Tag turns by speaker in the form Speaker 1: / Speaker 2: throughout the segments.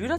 Speaker 1: lytter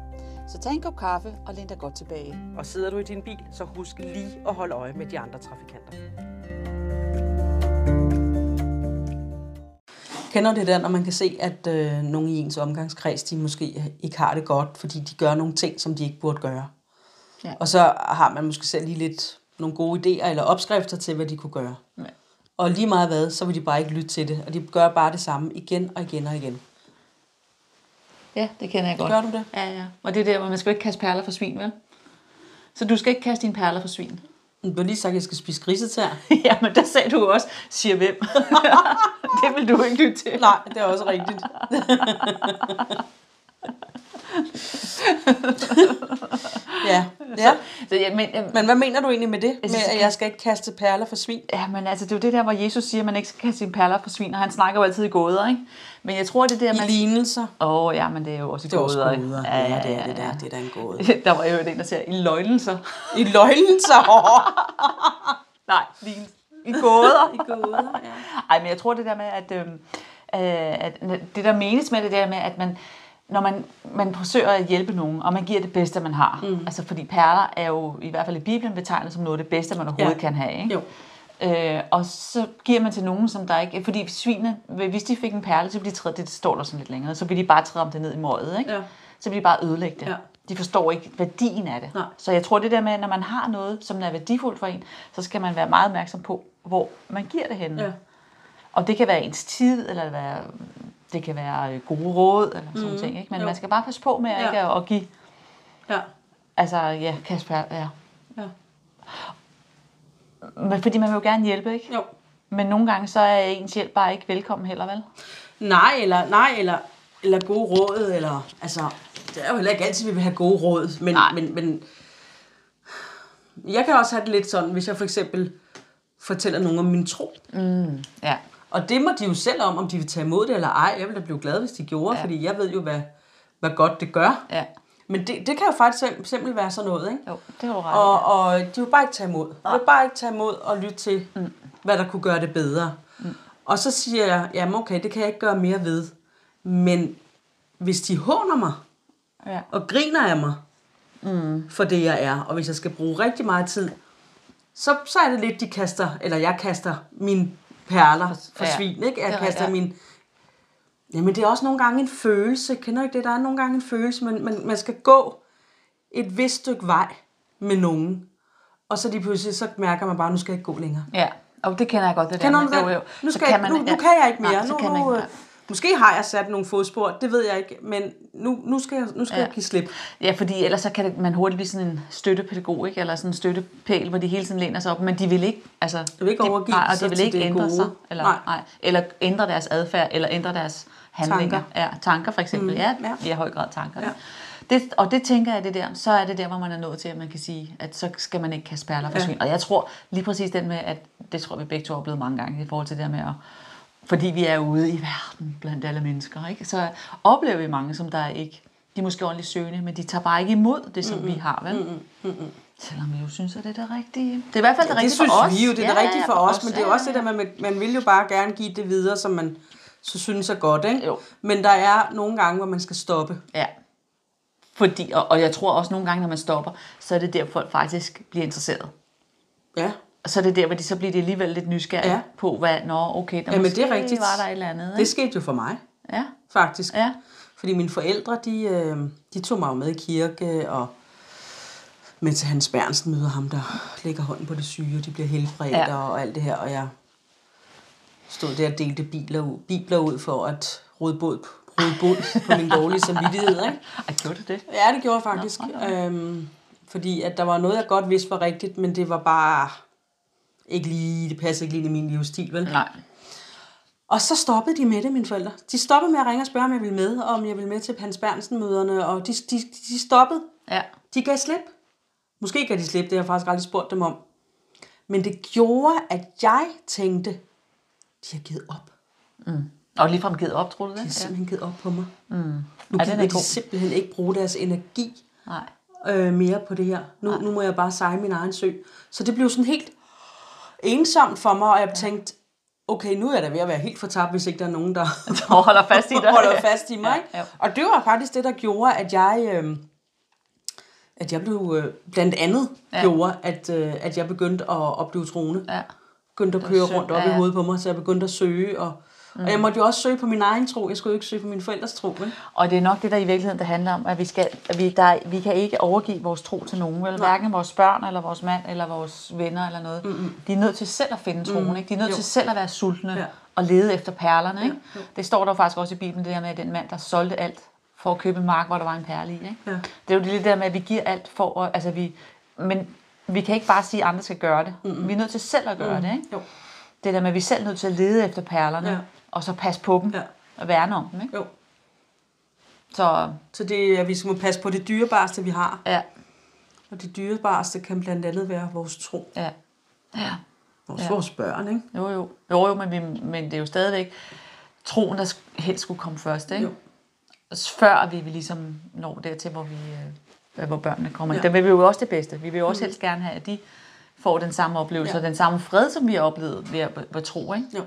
Speaker 2: Så tag en kop kaffe og læn dig godt tilbage.
Speaker 1: Og sidder du i din bil, så husk lige at holde øje med de andre trafikanter.
Speaker 3: Kender det der, når man kan se, at øh, nogen i ens omgangskreds, de måske ikke har det godt, fordi de gør nogle ting, som de ikke burde gøre.
Speaker 2: Ja.
Speaker 3: Ja. Og så har man måske selv lige lidt nogle gode idéer eller opskrifter til, hvad de kunne gøre.
Speaker 2: Ja.
Speaker 3: Og lige meget hvad, så vil de bare ikke lytte til det, og de gør bare det samme igen og igen og igen.
Speaker 2: Ja, det kender jeg godt.
Speaker 3: Gør du det?
Speaker 2: Ja, ja. Og det er der, hvor man skal ikke kaste perler for svin, vel? Så du skal ikke kaste dine perler for svin.
Speaker 3: Du har lige sagt, at jeg skal spise grisetær.
Speaker 2: ja, men der sagde du også, siger hvem. det vil du ikke lytte til.
Speaker 3: Nej, det er også rigtigt. ja. ja.
Speaker 2: Så, ja, men, øh, ja,
Speaker 3: Men hvad mener du egentlig med det? Med,
Speaker 2: synes,
Speaker 3: at jeg skal ikke kaste perler for svin?
Speaker 2: Ja, men altså, det er jo det der, hvor Jesus siger, at man ikke skal kaste sine perler for svin, og han snakker jo altid i gåder, ikke? Men jeg tror, det der,
Speaker 3: I
Speaker 2: man...
Speaker 3: lignelser.
Speaker 2: Åh, oh, ja, men det er jo også i
Speaker 3: Det er også
Speaker 2: gåder, ikke?
Speaker 3: gåder. Ja, ja, det er det der. Det er da en gåde.
Speaker 2: Der var jo en, der siger, i løgnelser.
Speaker 3: I løgnelser.
Speaker 2: Nej, lige i gåder.
Speaker 3: I gåder, ja.
Speaker 2: Ej, men jeg tror det der med, at, øhm, øh, at det der menes med det der med, at man, når man, man forsøger at hjælpe nogen, og man giver det bedste, man har. Mm. Altså, fordi perler er jo i hvert fald i Bibelen betegnet som noget af det bedste, man overhovedet ja.
Speaker 3: Ja.
Speaker 2: kan have. Ikke?
Speaker 3: Jo.
Speaker 2: Øh, og så giver man til nogen, som der ikke... Fordi svine, hvis de fik en perle, så ville de træde... Det står der sådan lidt længere. Så ville de bare træde om det ned i møget, ikke?
Speaker 3: Ja.
Speaker 2: Så ville de bare ødelægge det.
Speaker 3: Ja.
Speaker 2: De forstår ikke værdien af det.
Speaker 3: Nej.
Speaker 2: Så jeg tror, det der med, at når man har noget, som er værdifuldt for en, så skal man være meget opmærksom på, hvor man giver det henne.
Speaker 3: Ja.
Speaker 2: Og det kan være ens tid, eller det, være, det kan være øh, gode råd, eller sådan mm. ting. Ikke? Men
Speaker 3: Jo.
Speaker 2: man skal bare passe på med at
Speaker 3: Ja.
Speaker 2: ikke at- at give...
Speaker 3: Ja.
Speaker 2: Altså, ja, Kasper, ja.
Speaker 3: Ja.
Speaker 2: Men, fordi man vil jo gerne hjælpe, ikke?
Speaker 3: Jo.
Speaker 2: Men nogle gange så er ens hjælp bare ikke velkommen heller, vel?
Speaker 3: Nej, eller, nej, eller, eller gode råd, eller, altså, det er jo heller ikke altid, vi vil have gode råd, men,
Speaker 2: Nej.
Speaker 3: men, men jeg kan også have det lidt sådan, hvis jeg for eksempel fortæller nogen om min tro,
Speaker 2: Mm. Ja.
Speaker 3: Og det må de jo selv om, om de vil tage imod det eller ej. Jeg ville da blive glad, hvis de gjorde,
Speaker 2: Ja.
Speaker 3: ja. fordi jeg ved jo, hvad, hvad godt det gør.
Speaker 2: Ja.
Speaker 3: Men det, det kan jo faktisk sim- simpelthen være sådan noget, ikke?
Speaker 2: Jo, det har du ret i.
Speaker 3: Og, og de vil bare ikke tage imod. De vil bare ikke tage imod og lytte til, mm. hvad der kunne gøre det bedre. Mm. Og så siger jeg, jamen okay, det kan jeg ikke gøre mere ved. Men hvis de håner mig
Speaker 2: Ja.
Speaker 3: og griner af mig mm. for det, jeg er, og hvis jeg skal bruge rigtig meget tid, så, så er det lidt, de kaster, eller jeg kaster mine perler for
Speaker 2: Ja.
Speaker 3: svin, ikke? Jeg
Speaker 2: Ja,
Speaker 3: kaster
Speaker 2: ja.
Speaker 3: min... Jamen, det er også nogle gange en følelse. Kender du ikke det? Der er nogle gange en følelse, men man, man skal gå et vist stykke vej med nogen. Og så lige pludselig, så mærker man bare, nu skal jeg ikke gå længere.
Speaker 2: Ja, og det kender jeg godt, det
Speaker 3: Kender
Speaker 2: der.
Speaker 3: du
Speaker 2: med-
Speaker 3: det?
Speaker 2: Jo, jo.
Speaker 3: Nu,
Speaker 2: Så
Speaker 3: skal kan jeg, nu, nu kan jeg ikke mere.
Speaker 2: Nej, så
Speaker 3: nu,
Speaker 2: kan man
Speaker 3: nu,
Speaker 2: ikke mere.
Speaker 3: øh, måske har jeg sat nogle fodspor, det ved jeg ikke, men nu, nu skal, jeg, nu skal
Speaker 2: Ja.
Speaker 3: ja. jeg give slip.
Speaker 2: Ja, fordi ellers så kan det, man hurtigt blive sådan en støttepædagog, ikke? eller sådan en støttepæl, hvor de hele tiden læner sig op, men de vil ikke, altså,
Speaker 3: vil ikke
Speaker 2: de,
Speaker 3: overgive
Speaker 2: nej, og
Speaker 3: sig
Speaker 2: de vil
Speaker 3: til
Speaker 2: ikke
Speaker 3: det
Speaker 2: ændre
Speaker 3: gode.
Speaker 2: sig, eller, nej.
Speaker 3: Nej.
Speaker 2: Nej, eller ændre deres adfærd, eller ændre deres handlinger.
Speaker 3: Tanker.
Speaker 2: Ja, tanker for eksempel, mm, ja,
Speaker 3: ja.
Speaker 2: ja. i høj grad tanker. Ja.
Speaker 3: Ja.
Speaker 2: Det, og det tænker jeg, det der, så er det der, hvor man er nået til, at man kan sige, at så skal man ikke kaste perler for
Speaker 3: Ja.
Speaker 2: svin. Og jeg tror lige præcis den med, at det tror jeg, vi begge to har oplevet mange gange i forhold til det der med at fordi vi er ude i verden blandt alle mennesker, ikke? så oplever vi mange, som der ikke, de er måske ordentligt søgende, men de tager bare ikke imod det, som mm-hmm. vi har, vel? Mm-hmm. Selvom vi jo synes, at det er det rigtige. Det er i hvert fald det
Speaker 3: det
Speaker 2: rigtige
Speaker 3: synes
Speaker 2: for os.
Speaker 3: vi jo, det er ja, det rigtige for os, men det er jo også
Speaker 2: ja,
Speaker 3: det der med, at man vil jo bare gerne give det videre, som man så synes er godt, ikke?
Speaker 2: Jo.
Speaker 3: Men der er nogle gange, hvor man skal stoppe.
Speaker 2: Ja. Fordi, og, og jeg tror også nogle gange, når man stopper, så er det der, folk faktisk bliver interesseret.
Speaker 3: Ja,
Speaker 2: Og så er det der, hvor de så bliver de alligevel lidt nysgerrige ja.
Speaker 3: Ja.
Speaker 2: på, hvad, nå, okay, der
Speaker 3: Jamen,
Speaker 2: måske
Speaker 3: det er rigtigt.
Speaker 2: var der et eller andet.
Speaker 3: det
Speaker 2: Ikke?
Speaker 3: skete jo for mig,
Speaker 2: Ja,
Speaker 3: faktisk.
Speaker 2: ja,
Speaker 3: Fordi mine forældre, de, øh, de tog mig jo med i kirke, og mens Hans Bernsen møder ham, der lægger hånden på det syge, og de bliver helbredt
Speaker 2: Ja.
Speaker 3: ja. og alt det her, og jeg stod der og delte biler ud, bibler ud for at råde båd, råde båd på min dårlige samvittighed, ikke?
Speaker 2: Ej, gjorde du det?
Speaker 3: Ja, det gjorde jeg faktisk. Øhm, fordi at der var noget, jeg godt vidste var rigtigt, men det var bare ikke lige, det passede ikke lige ind i min livsstil, vel?
Speaker 2: Nej.
Speaker 3: Og så stoppede de med det, mine forældre. De stoppede med at ringe og spørge, om jeg ville med, og om jeg ville med til Hans Bernsen-møderne, og de, de, de stoppede.
Speaker 2: Ja,
Speaker 3: De gav slip. Måske kan de slippe det, jeg har faktisk aldrig spurgt dem om. Men det gjorde, at jeg tænkte, de har givet op.
Speaker 2: Og ligefrem givet op, tror du
Speaker 3: De har
Speaker 2: det?
Speaker 3: simpelthen givet op på mig. Mm. Nu
Speaker 2: er
Speaker 3: kan
Speaker 2: god.
Speaker 3: de simpelthen ikke bruge deres energi
Speaker 2: Nej.
Speaker 3: øh, mere på det her. Nu, nu må jeg bare sejle min egen sø. Så det blev sådan helt ensomt for mig, og jeg tænkte, okay, nu er jeg da ved at være helt fortabt, hvis ikke der er nogen, der
Speaker 2: Og holder fast i dig.
Speaker 3: holder fast i mig.
Speaker 2: Ja,
Speaker 3: Ja,
Speaker 2: ja.
Speaker 3: ja. Og det var faktisk det, der gjorde, at jeg, øh, at jeg blev, øh, blandt andet
Speaker 2: Ja.
Speaker 3: ja. gjorde, at, øh, at jeg begyndte at, at blive troende.
Speaker 2: Ja.
Speaker 3: Begyndte at
Speaker 2: var
Speaker 3: køre
Speaker 2: synd,
Speaker 3: rundt op
Speaker 2: ja,
Speaker 3: ja,
Speaker 2: ja.
Speaker 3: i hovedet på mig, så jeg begyndte at søge. Og, mm. og jeg måtte jo også søge på min egen tro. Jeg skulle jo ikke søge på mine forældres tro. Vel?
Speaker 2: Og det er nok det, der i virkeligheden det handler om, at vi, skal, at vi, der, vi kan ikke overgive vores tro til nogen, vel? hverken vores børn, eller vores mand, eller vores venner, eller noget. Mm-hmm. De er nødt til selv at finde troen, mm-hmm. ikke? De er nødt jo. til selv at være sultne ja.
Speaker 3: Ja.
Speaker 2: og lede efter perlerne, ikke? Det står der jo faktisk også i Bibelen, det der med, at den mand, der solgte alt for at købe en mark, hvor der var en perle i, ikke?
Speaker 3: Ja.
Speaker 2: Det er jo det der med, at vi giver alt for at, altså vi, men vi kan ikke bare sige, at andre skal gøre det. Mm-hmm. Vi er nødt til selv at gøre mm-hmm. det, ikke?
Speaker 3: Jo.
Speaker 2: Det der med, at vi er selv nødt til at lede efter perlerne,
Speaker 3: Ja.
Speaker 2: og så passe på dem,
Speaker 3: Ja.
Speaker 2: og værne om dem, ikke?
Speaker 3: Jo.
Speaker 2: Så
Speaker 3: Så det, er, at vi skal må passe på det dyrebareste, vi har.
Speaker 2: ja,
Speaker 3: Og det dyrebareste kan blandt andet være vores tro.
Speaker 2: ja, ja.
Speaker 3: Vores,
Speaker 2: Ja.
Speaker 3: ja. vores børn, ikke?
Speaker 2: Jo, jo. Jo, jo, men, vi, men det er jo stadigvæk troen, der sk- helst skulle komme først, ikke?
Speaker 3: Jo.
Speaker 2: S- Før vi, vi ligesom når dertil, hvor, vi, øh, hvor børnene kommer. Ja.
Speaker 3: Ja.
Speaker 2: Der vil vi jo også det bedste. Vi vil jo også helst gerne have, at de får den samme oplevelse, ja.
Speaker 3: Ja.
Speaker 2: og den samme fred, som vi har oplevet ved at, ved at tro, ikke?
Speaker 3: Jo.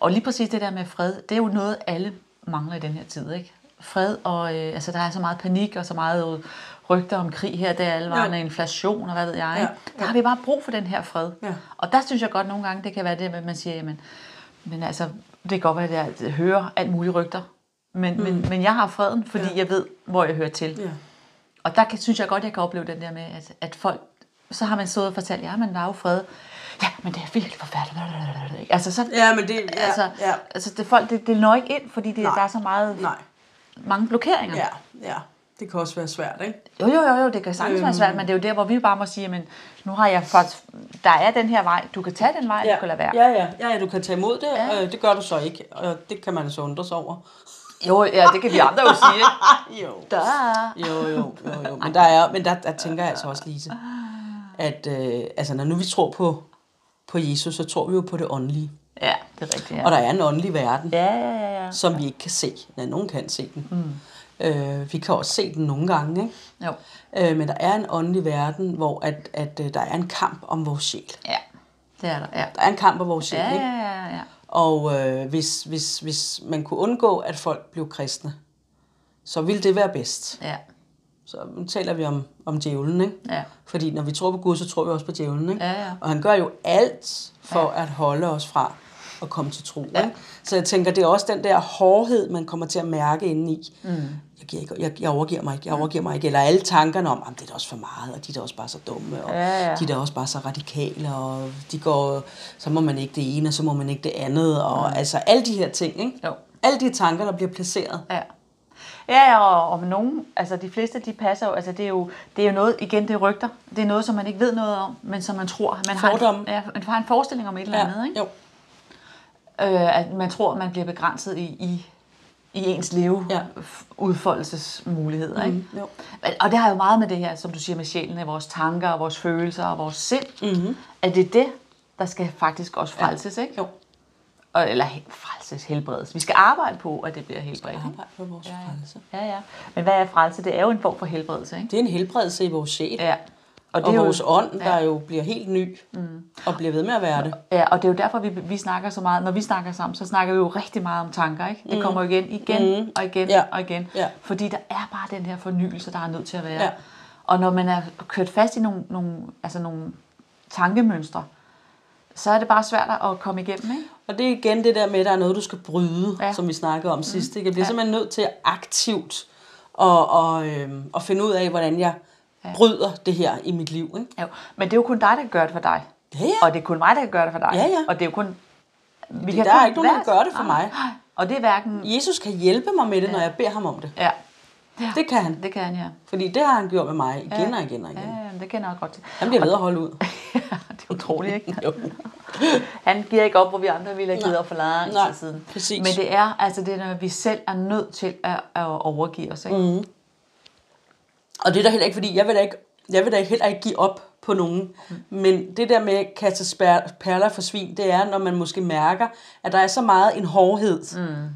Speaker 2: Og lige præcis det der med fred, det er jo noget, alle mangler i den her tid, ikke? Fred, og øh, altså, der er så meget panik og så meget øh, rygter om krig her, der alle vejen,
Speaker 3: Ja.
Speaker 2: og inflation og hvad ved jeg.
Speaker 3: Ja,
Speaker 2: Ikke? Der har vi bare brug for den her fred.
Speaker 3: Ja.
Speaker 2: Og der synes jeg godt nogle gange, det kan være det, med, at man siger, jamen, men altså, det kan godt være, at jeg hører alt muligt rygter, men, mm. men, men jeg har freden, fordi ja. jeg ved, hvor jeg hører til.
Speaker 3: Ja.
Speaker 2: Og der kan, synes jeg godt, jeg kan opleve den der med, at, at folk, så har man stået og fortalt, ja, men der er jo fred. Ja, men det er virkelig forfærdeligt. Altså, så,
Speaker 3: ja, men det... Ja,
Speaker 2: altså,
Speaker 3: ja.
Speaker 2: altså det, folk, det, det når ikke ind, fordi det,
Speaker 3: Nej.
Speaker 2: der er så meget,
Speaker 3: Nej.
Speaker 2: mange blokeringer.
Speaker 3: Ja, ja. Det kan også være svært, ikke?
Speaker 2: Jo, jo, jo, jo, det kan sagtens være
Speaker 3: Øhm.
Speaker 2: svært, men det er jo der, hvor vi bare må sige, men nu har jeg faktisk, der er den her vej, du kan tage den vej, ja. du kan lade være.
Speaker 3: Ja, ja, ja, ja, du kan tage imod det.
Speaker 2: Ja.
Speaker 3: Ja. Øh, det gør du så ikke, og det kan man så undre sig over.
Speaker 2: Jo, ja, det kan vi andre jo sige. ikke?
Speaker 3: Jo.
Speaker 2: Der.
Speaker 3: Jo, jo, jo, jo. Men der, er, men der, der tænker jeg altså også, Lise, at øh, altså, når nu vi tror på, på Jesus, så tror vi jo på det åndelige.
Speaker 2: Ja, det er rigtigt. Ja.
Speaker 3: Ja. Og der er en åndelig verden, ja.
Speaker 2: ja, ja, ja, ja.
Speaker 3: som vi ikke kan se. Ja, nogen kan se den. Mm. Øh, vi kan også se den nogle gange, ikke?
Speaker 2: Jo.
Speaker 3: Øh, men der er en åndelig verden, hvor at, at, øh, der er en kamp om vores sjæl.
Speaker 2: Ja, det er der. Ja,
Speaker 3: Der er en kamp om vores sjæl,
Speaker 2: ja,
Speaker 3: ikke?
Speaker 2: ja, ja, ja.
Speaker 3: Og øh, hvis, hvis, hvis man kunne undgå, at folk blev kristne, så ville det være bedst.
Speaker 2: ja.
Speaker 3: Så nu taler vi om, om djævlen, ikke?
Speaker 2: Ja.
Speaker 3: Fordi når vi tror på Gud, så tror vi også på djævlen, ikke?
Speaker 2: Ja, ja.
Speaker 3: Og han gør jo alt for ja. at holde os fra at komme til tro, ja. ikke? Så jeg tænker, det er også den der hårdhed, man kommer til at mærke indeni. Mm. Jeg, giver ikke, jeg, jeg overgiver mig ikke, jeg overgiver mig ikke. Eller alle tankerne om, at det er da også for meget, og de er da også bare så dumme, og
Speaker 2: Ja, ja.
Speaker 3: de er da også bare så radikale, og de går, så må man ikke det ene, og så må man ikke det andet, og altså alle de her ting, ikke?
Speaker 2: Mm. Jo.
Speaker 3: Alle de tanker, der bliver placeret.
Speaker 2: Ja. Ja, og om nogen, altså de fleste, de passer jo, altså det er jo, det er jo noget, igen, det er rygter. Det er noget, som man ikke ved noget om, men som man tror. Man har en,
Speaker 3: Fordomme.
Speaker 2: ja, man har en forestilling om et eller andet, ikke?
Speaker 3: jo.
Speaker 2: Øh, at man tror, man bliver begrænset i, i, i ens leve ja.
Speaker 3: Ja. Mm-hmm,
Speaker 2: udfoldelsesmuligheder, ikke?
Speaker 3: jo.
Speaker 2: Men- Og det har jo meget med det her, som du siger med sjælen, af vores tanker og vores følelser og vores sind. Mm-hmm. At det er det, der skal faktisk også frelses, ikke?
Speaker 3: Jo.
Speaker 2: Og, eller he- frelses, helbredes. Vi skal arbejde på, at det bliver helbredt. ikke?
Speaker 3: Arbejde på vores ja, ja. frelse.
Speaker 2: Ja, ja. Men hvad er frelse? Det er jo en form for helbredelse, ikke?
Speaker 3: Det er en helbredelse i vores sjæl.
Speaker 2: Ja.
Speaker 3: Og, det er vores ånd, der jo bliver helt ny, mm. og bliver ved med at være det.
Speaker 2: Ja, og det er jo derfor, vi, vi snakker så meget. Når vi snakker sammen, så snakker vi jo rigtig meget om tanker, ikke? Det kommer jo igen, igen mm. og igen
Speaker 3: Mm. Ja.
Speaker 2: og igen.
Speaker 3: Ja.
Speaker 2: Fordi der er bare den her fornyelse, der er nødt til at være.
Speaker 3: Ja.
Speaker 2: Og når man er kørt fast i nogle, nogle, altså nogle tankemønstre, så er det bare svært at komme igennem, ikke?
Speaker 3: Og det er igen det der med, at der er noget, du skal bryde,
Speaker 2: Ja.
Speaker 3: ja. som vi snakkede om sidst. Ikke? Jeg bliver ja. simpelthen nødt til aktivt at, og, øhm, at finde ud af, hvordan jeg bryder det her i mit liv. Ikke?
Speaker 2: Jo. Men det er jo kun dig, der kan gøre det for dig.
Speaker 3: Ja, ja.
Speaker 2: Og det er kun mig, der kan gøre det for dig.
Speaker 3: Ja, ja.
Speaker 2: Og det er jo kun... Vi
Speaker 3: der
Speaker 2: kun
Speaker 3: er ikke nogen, der
Speaker 2: være-
Speaker 3: gør det for
Speaker 2: Nej,
Speaker 3: mig.
Speaker 2: nej. Og det er hverken...
Speaker 3: Jesus kan hjælpe mig med det, ja. når jeg beder ham om det.
Speaker 2: Ja,
Speaker 3: Det kan han.
Speaker 2: det kan han, ja.
Speaker 3: Fordi det har han gjort med mig igen og igen og igen.
Speaker 2: Ja, det kender jeg godt til.
Speaker 3: Han bliver ved at holde ud.
Speaker 2: det er utroligt, ikke?
Speaker 3: Jo.
Speaker 2: Han giver ikke op, hvor vi andre ville have givet
Speaker 3: Nej.
Speaker 2: op for lang
Speaker 3: Nej,
Speaker 2: tid siden.
Speaker 3: præcis.
Speaker 2: Men det er, altså det er, når vi selv er nødt til at, at overgive os, ikke? Mm.
Speaker 3: Og det er da heller ikke, fordi jeg vil da ikke jeg vil da heller ikke give op på nogen.
Speaker 2: Mm.
Speaker 3: Men det der med at kaste spær- perler for svin, det er, når man måske mærker, at der er så meget en hårdhed, mm.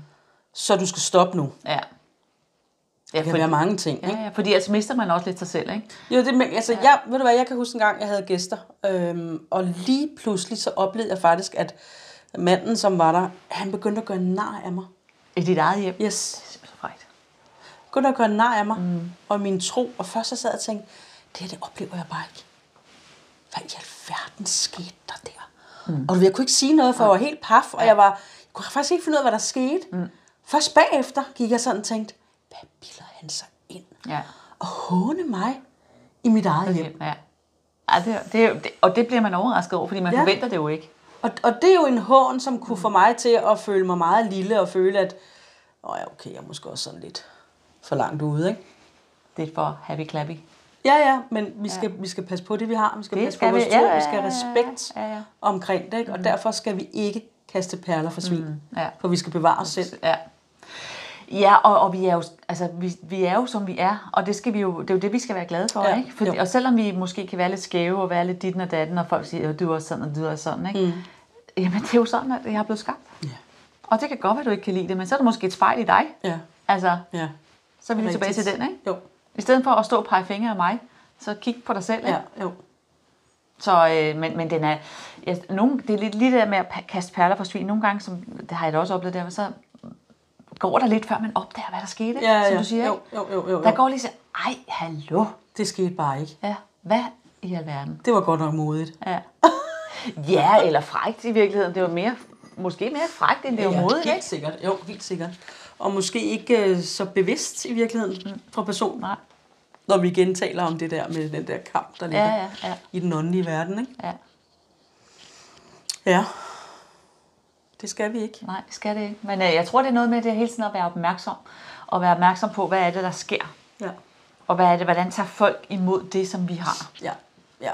Speaker 3: så du skal stoppe nu.
Speaker 2: Ja. Ja,
Speaker 3: Det kan
Speaker 2: fordi,
Speaker 3: være mange ting. Ikke?
Speaker 2: ja, ja, fordi altså mister man også lidt sig selv, ikke?
Speaker 3: Jo, det, men, altså, jeg, ved du hvad, jeg kan huske en gang, jeg havde gæster, øhm, og lige pludselig så oplevede jeg faktisk, at manden, som var der, han begyndte at gøre nar af mig.
Speaker 2: I dit eget hjem. Ja.
Speaker 3: Yes.
Speaker 2: Det er simpelthen så frækt.
Speaker 3: begyndte at gøre nar af mig mm. og min tro. Og først så sad jeg og tænkte, det her det oplever jeg bare ikke. Hvad i alverden skete der der? Mm. Og du ved, jeg kunne ikke sige noget, for jeg var helt paf, og jeg, var, jeg kunne faktisk ikke finde ud af, hvad der skete. Mm. Først bagefter gik jeg sådan og tænkte, hvad bilder han sig ind?
Speaker 2: Ja.
Speaker 3: Og håne mig i mit eget hjem.
Speaker 2: ja. ja det, det, er jo- det, og det bliver man overrasket over, fordi man
Speaker 3: Ja.
Speaker 2: ja. forventer det jo ikke.
Speaker 3: Og, og det er jo en hån, som kunne få mig til at føle mig meget lille, og føle, at Åh, ja, okay, jeg er måske også sådan lidt for langt ude, ikke?
Speaker 2: Det er for happy-clappy.
Speaker 3: Ja, ja, men vi skal, ja. vi skal passe på det, vi har. Vi skal
Speaker 2: Det
Speaker 3: passe
Speaker 2: skal
Speaker 3: på vores
Speaker 2: vi.
Speaker 3: tro.
Speaker 2: Ja,
Speaker 3: vi skal have
Speaker 2: ja,
Speaker 3: respekt
Speaker 2: ja, Mm. ja.
Speaker 3: omkring det. Ikke? Og derfor skal vi ikke kaste perler for svin. Mm.
Speaker 2: ja.
Speaker 3: For vi skal bevare os selv.
Speaker 2: Ja. Ja, og, og vi, er jo, altså, vi, vi er jo, som vi er, og det, skal vi jo, det er jo det, vi skal være glade for.
Speaker 3: Ja,
Speaker 2: Ja, ikke? Fordi,
Speaker 3: jo.
Speaker 2: og selvom vi måske kan være lidt skæve og være lidt ditten og datten, og folk siger, "Øh, du er også sådan, og du er sådan, ikke? Mm. jamen det er jo sådan, at jeg er blevet skabt.
Speaker 3: Ja.
Speaker 2: Og det kan godt være, at du ikke kan lide det, men så er det måske et fejl i dig.
Speaker 3: Ja,
Speaker 2: Altså,
Speaker 3: ja.
Speaker 2: så er vi lige tilbage til
Speaker 3: rigtigt.
Speaker 2: den, ikke?
Speaker 3: Jo,
Speaker 2: I stedet for at stå og pege fingre af mig, så kig på dig selv, ikke?
Speaker 3: ja, jo.
Speaker 2: Så, øh, men, men den er, ja, nogle, det er lidt lige det der med at pa- kaste perler for svin. Nogle gange, som, det har jeg da også oplevet der, men så går der lidt, før man opdager, hvad der skete,
Speaker 3: Ja,
Speaker 2: som
Speaker 3: ja.
Speaker 2: du siger.
Speaker 3: Jo,
Speaker 2: ikke?
Speaker 3: jo, jo, jo, jo.
Speaker 2: Der går lige så, ej, hallo,
Speaker 3: Det skete bare ikke.
Speaker 2: ja, hvad i alverden?
Speaker 3: Det var godt nok modigt.
Speaker 2: Ja. ja, eller frægt i virkeligheden. Det var mere, måske mere frægt, end det var ja, modigt,
Speaker 3: helt
Speaker 2: ikke?
Speaker 3: sikkert. Jo, helt sikkert. Og måske ikke øh, så bevidst i virkeligheden mm. fra personen,
Speaker 2: Nej,
Speaker 3: når vi igen taler om det der med den der kamp, der ligger
Speaker 2: ja, ja.
Speaker 3: i den åndelige verden. Ikke?
Speaker 2: ja,
Speaker 3: Ja. Det skal vi ikke.
Speaker 2: nej, det skal det ikke. Men øh, jeg tror, det er noget med det hele tiden at være opmærksom. Og være opmærksom på, hvad er det, der sker?
Speaker 3: Ja.
Speaker 2: Og hvad er det, hvordan tager folk imod det, som vi har?
Speaker 3: Ja. Ja.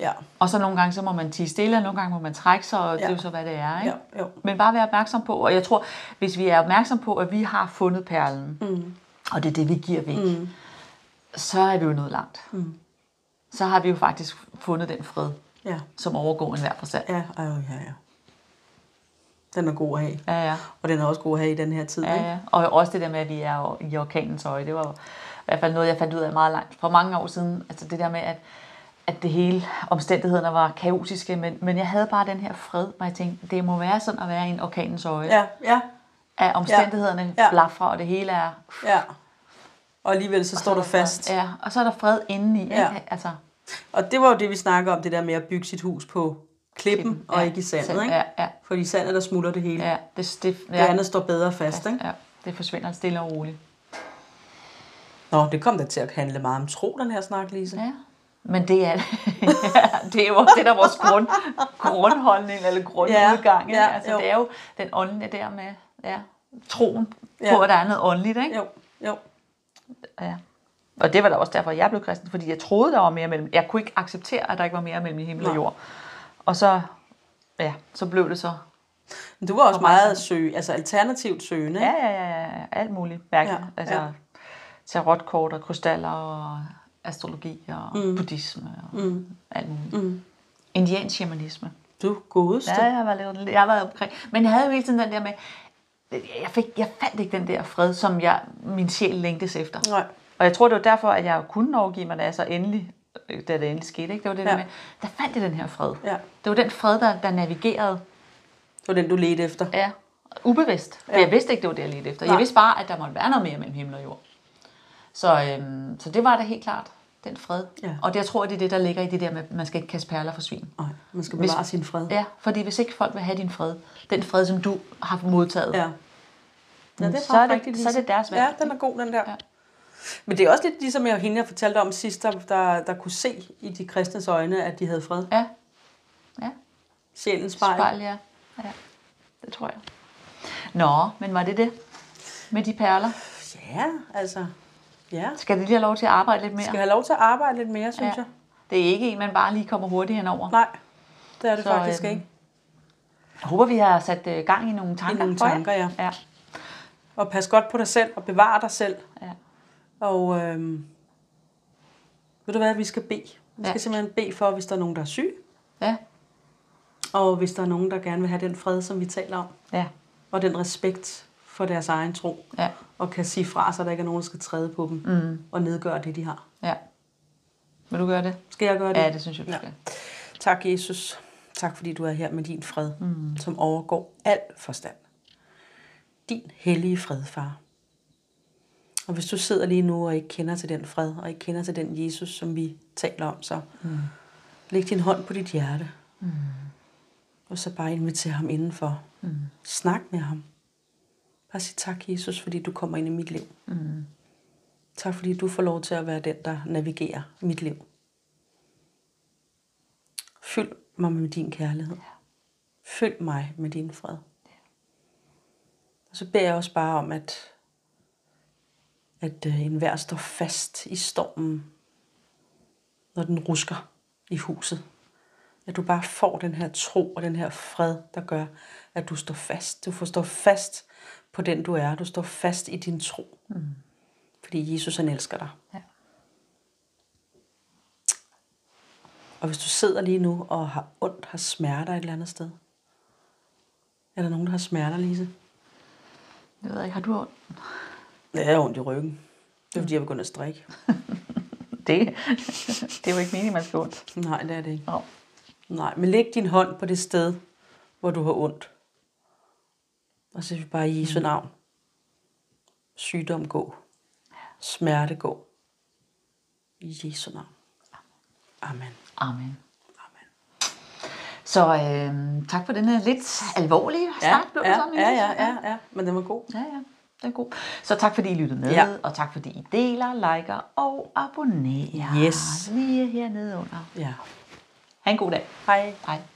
Speaker 3: Ja.
Speaker 2: Og så nogle gange, så må man tige stille, og nogle gange må man trække sig, og ja. det er jo så, hvad det er. Ikke?
Speaker 3: Ja, jo.
Speaker 2: Men bare være opmærksom på, og jeg tror, hvis vi er opmærksom på, at vi har fundet perlen, mm. og det er det, vi giver væk, mm. så er vi jo nået langt. Mm. Så har vi jo faktisk fundet den fred,
Speaker 3: Ja.
Speaker 2: som overgår enhver forstand.
Speaker 3: Ja, ej, ja, ja. Den er god at have.
Speaker 2: Ja, ja.
Speaker 3: Og den er også god at have i den her tid.
Speaker 2: Ja,
Speaker 3: ikke?
Speaker 2: ja. Og også det der med, at vi er jo i orkanens øje, det var jo i hvert fald noget, jeg fandt ud af meget langt for mange år siden. Altså det der med, at, at det hele omstændighederne var kaotiske, men, men jeg havde bare den her fred, hvor jeg tænkte, det må være sådan at være i en orkanens øje.
Speaker 3: ja, ja,
Speaker 2: At omstændighederne
Speaker 3: Ja.
Speaker 2: ja. blaffer, og det hele er...
Speaker 3: ja. Og alligevel så står du fast.
Speaker 2: Ja, og så er der fred indeni. Ikke?
Speaker 3: Ja.
Speaker 2: Ja. Altså,
Speaker 3: Og det var jo det, vi snakker om, det der med at bygge sit hus på klippen
Speaker 2: Klippen,
Speaker 3: og
Speaker 2: ja.
Speaker 3: ikke i sandet.
Speaker 2: Sand,
Speaker 3: Ikke?
Speaker 2: ja, ja.
Speaker 3: Fordi i sandet, der smuldrer det hele.
Speaker 2: ja, det, det, ja,
Speaker 3: Det andet står bedre fast. Ikke?
Speaker 2: ja, det forsvinder stille og roligt.
Speaker 3: Nå, det kom da til at handle meget om tro, den her snak, Lise.
Speaker 2: Ja. Men det er, ja, det er jo det, der er vores grund, grundholdning, eller grundudgang.
Speaker 3: Ja,
Speaker 2: Ja,
Speaker 3: ja,
Speaker 2: ja, altså,
Speaker 3: jo.
Speaker 2: det er jo den åndelige der med ja, troen ja.
Speaker 3: Ja.
Speaker 2: på, at der er noget åndeligt. Ikke?
Speaker 3: Jo, jo.
Speaker 2: Ja. Og det var da også derfor, jeg blev kristen, fordi jeg troede, der var mere mellem. Jeg kunne ikke acceptere, at der ikke var mere mellem himmel og
Speaker 3: Nej.
Speaker 2: jord. Og så, ja, så blev det så
Speaker 3: Men du var også
Speaker 2: For mig
Speaker 3: meget søg, altså alternativt søgende.
Speaker 2: Ja,
Speaker 3: ikke?
Speaker 2: ja, ja, ja, ja. Alt muligt. Mærkeligt.
Speaker 3: Ja,
Speaker 2: Ja, altså,
Speaker 3: ja.
Speaker 2: ja. tarotkort og krystaller og astrologi og mm. buddhisme og mm. alt muligt. Mm. Indiansk shamanisme.
Speaker 3: Du godeste.
Speaker 2: Ja, jeg var lidt, jeg var omkring. Men jeg havde jo hele tiden den der med, jeg, fik, jeg fandt ikke den der fred, som jeg, min sjæl længtes efter.
Speaker 3: Nej.
Speaker 2: Og jeg tror, det var derfor, at jeg kunne overgive mig, da jeg så endelig, øh, da det endelig skete. Ikke? Det var det ja.
Speaker 3: Ja.
Speaker 2: der med, der fandt jeg den her fred.
Speaker 3: Ja.
Speaker 2: Det var den fred, der, der navigerede
Speaker 3: Det var den, du ledte efter.
Speaker 2: Ja, ubevidst. For
Speaker 3: Ja.
Speaker 2: ja. jeg vidste ikke, det var det, jeg ledte efter.
Speaker 3: Nej.
Speaker 2: Jeg vidste bare, at der måtte være noget mere mellem himmel og jord. Så, øhm, så det var da helt klart den fred.
Speaker 3: Ja.
Speaker 2: Og det, jeg tror, det er det, der ligger i det der med, at man skal ikke kaste perler for svin.
Speaker 3: Nej, man skal bevare sin fred.
Speaker 2: Ja, fordi hvis ikke folk vil have din fred, den fred, som du har modtaget,
Speaker 3: Ja. Ja, det er
Speaker 2: Mm. så
Speaker 3: faktisk
Speaker 2: er det-
Speaker 3: rigtigt,
Speaker 2: så er det
Speaker 3: Lise.
Speaker 2: deres valg.
Speaker 3: Ja, den er god, den der. Ja.
Speaker 2: Ja.
Speaker 3: Men det er også lidt ligesom jeg, hende, jeg fortalte om sidst, der, der, der kunne se i de kristnes øjne, at de havde fred.
Speaker 2: ja, ja.
Speaker 3: Sjælens spejl.
Speaker 2: spejl, ja. ja. Det tror jeg. Nå, men var det det med de perler?
Speaker 3: Ja, altså. Ja.
Speaker 2: Skal de lige have lov til at arbejde lidt mere?
Speaker 3: Skal have lov til at arbejde lidt mere, synes ja.
Speaker 2: ja.
Speaker 3: jeg.
Speaker 2: Det er ikke en, man bare lige kommer hurtigt henover.
Speaker 3: Nej, det er det
Speaker 2: Så,
Speaker 3: så, faktisk øhm,
Speaker 2: øhm,
Speaker 3: ikke.
Speaker 2: Jeg håber, vi har sat øh, gang i nogle tanker.
Speaker 3: nogle
Speaker 2: for jer.
Speaker 3: tanker, ja.
Speaker 2: ja.
Speaker 3: Og pas godt på dig selv, og bevare dig selv.
Speaker 2: Ja.
Speaker 3: Og øhm, Ved du hvad, vi skal bede. Vi
Speaker 2: Ja.
Speaker 3: skal simpelthen bede for, hvis der er nogen, der er syg,
Speaker 2: Ja,
Speaker 3: og hvis der er nogen, der gerne vil have den fred, som vi taler om,
Speaker 2: ja,
Speaker 3: og den respekt for deres egen tro,
Speaker 2: ja,
Speaker 3: og kan sige fra, så der ikke er nogen, der skal træde på dem mm. og nedgøre det, de har.
Speaker 2: ja. Vil du gøre det?
Speaker 3: Skal jeg gøre det?
Speaker 2: Ja, det synes jeg, du
Speaker 3: Ja.
Speaker 2: skal.
Speaker 3: Tak, Jesus. Tak, fordi du er her med din fred, mm. som overgår al forstand. Din hellige fred, far. Og hvis du sidder lige nu og ikke kender til den fred, og ikke kender til den Jesus, som vi taler om, så mm. læg din hånd på dit hjerte. Mm. Og så bare inviter ham indenfor. Mm. Snak med ham. Bare sig tak, Jesus, fordi du kommer ind i mit liv. Mm. Tak, fordi du får lov til at være den, der navigerer mit liv. Fyld mig med din kærlighed. Fyld mig med din fred. Og så beder jeg også bare om, at, at øh, enhver står fast i stormen, når den rusker i huset. At du bare får den her tro og den her fred, der gør, at du står fast. Du får stå fast på den, du er. Du står fast i din tro. Mm. Fordi Jesus, han elsker dig.
Speaker 2: Ja.
Speaker 3: Og hvis du sidder lige nu og har ondt, har smerter et eller andet sted. Er der nogen, der har smerter, Lise?
Speaker 2: Jeg ved ikke, har du ondt?
Speaker 3: Ja, jeg har ondt i ryggen. Det er fordi, jeg begynder at strikke.
Speaker 2: Det, det er jo ikke meningen, man skal have ondt.
Speaker 3: Nej, det er det ikke.
Speaker 2: Nå.
Speaker 3: Nej, men læg din hånd på det sted, hvor du har ondt. Og så siger vi bare i Jesu navn. Sygdom gå. Smerte gå. I Jesu navn. Amen.
Speaker 2: Amen.
Speaker 3: Amen.
Speaker 2: Så øh, tak for den her lidt alvorlige snak, blev det
Speaker 3: ja,
Speaker 2: sådan,
Speaker 3: ja,
Speaker 2: Ines?
Speaker 3: ja, ja, ja, men den var god.
Speaker 2: Ja, ja. Den er god. Så tak fordi I lyttede med,
Speaker 3: Ja.
Speaker 2: ja. og tak fordi I deler, liker og abonnerer.
Speaker 3: Yes.
Speaker 2: Lige hernede under.
Speaker 3: Ja.
Speaker 2: Ha' en god dag.
Speaker 3: Hej.
Speaker 2: Hej.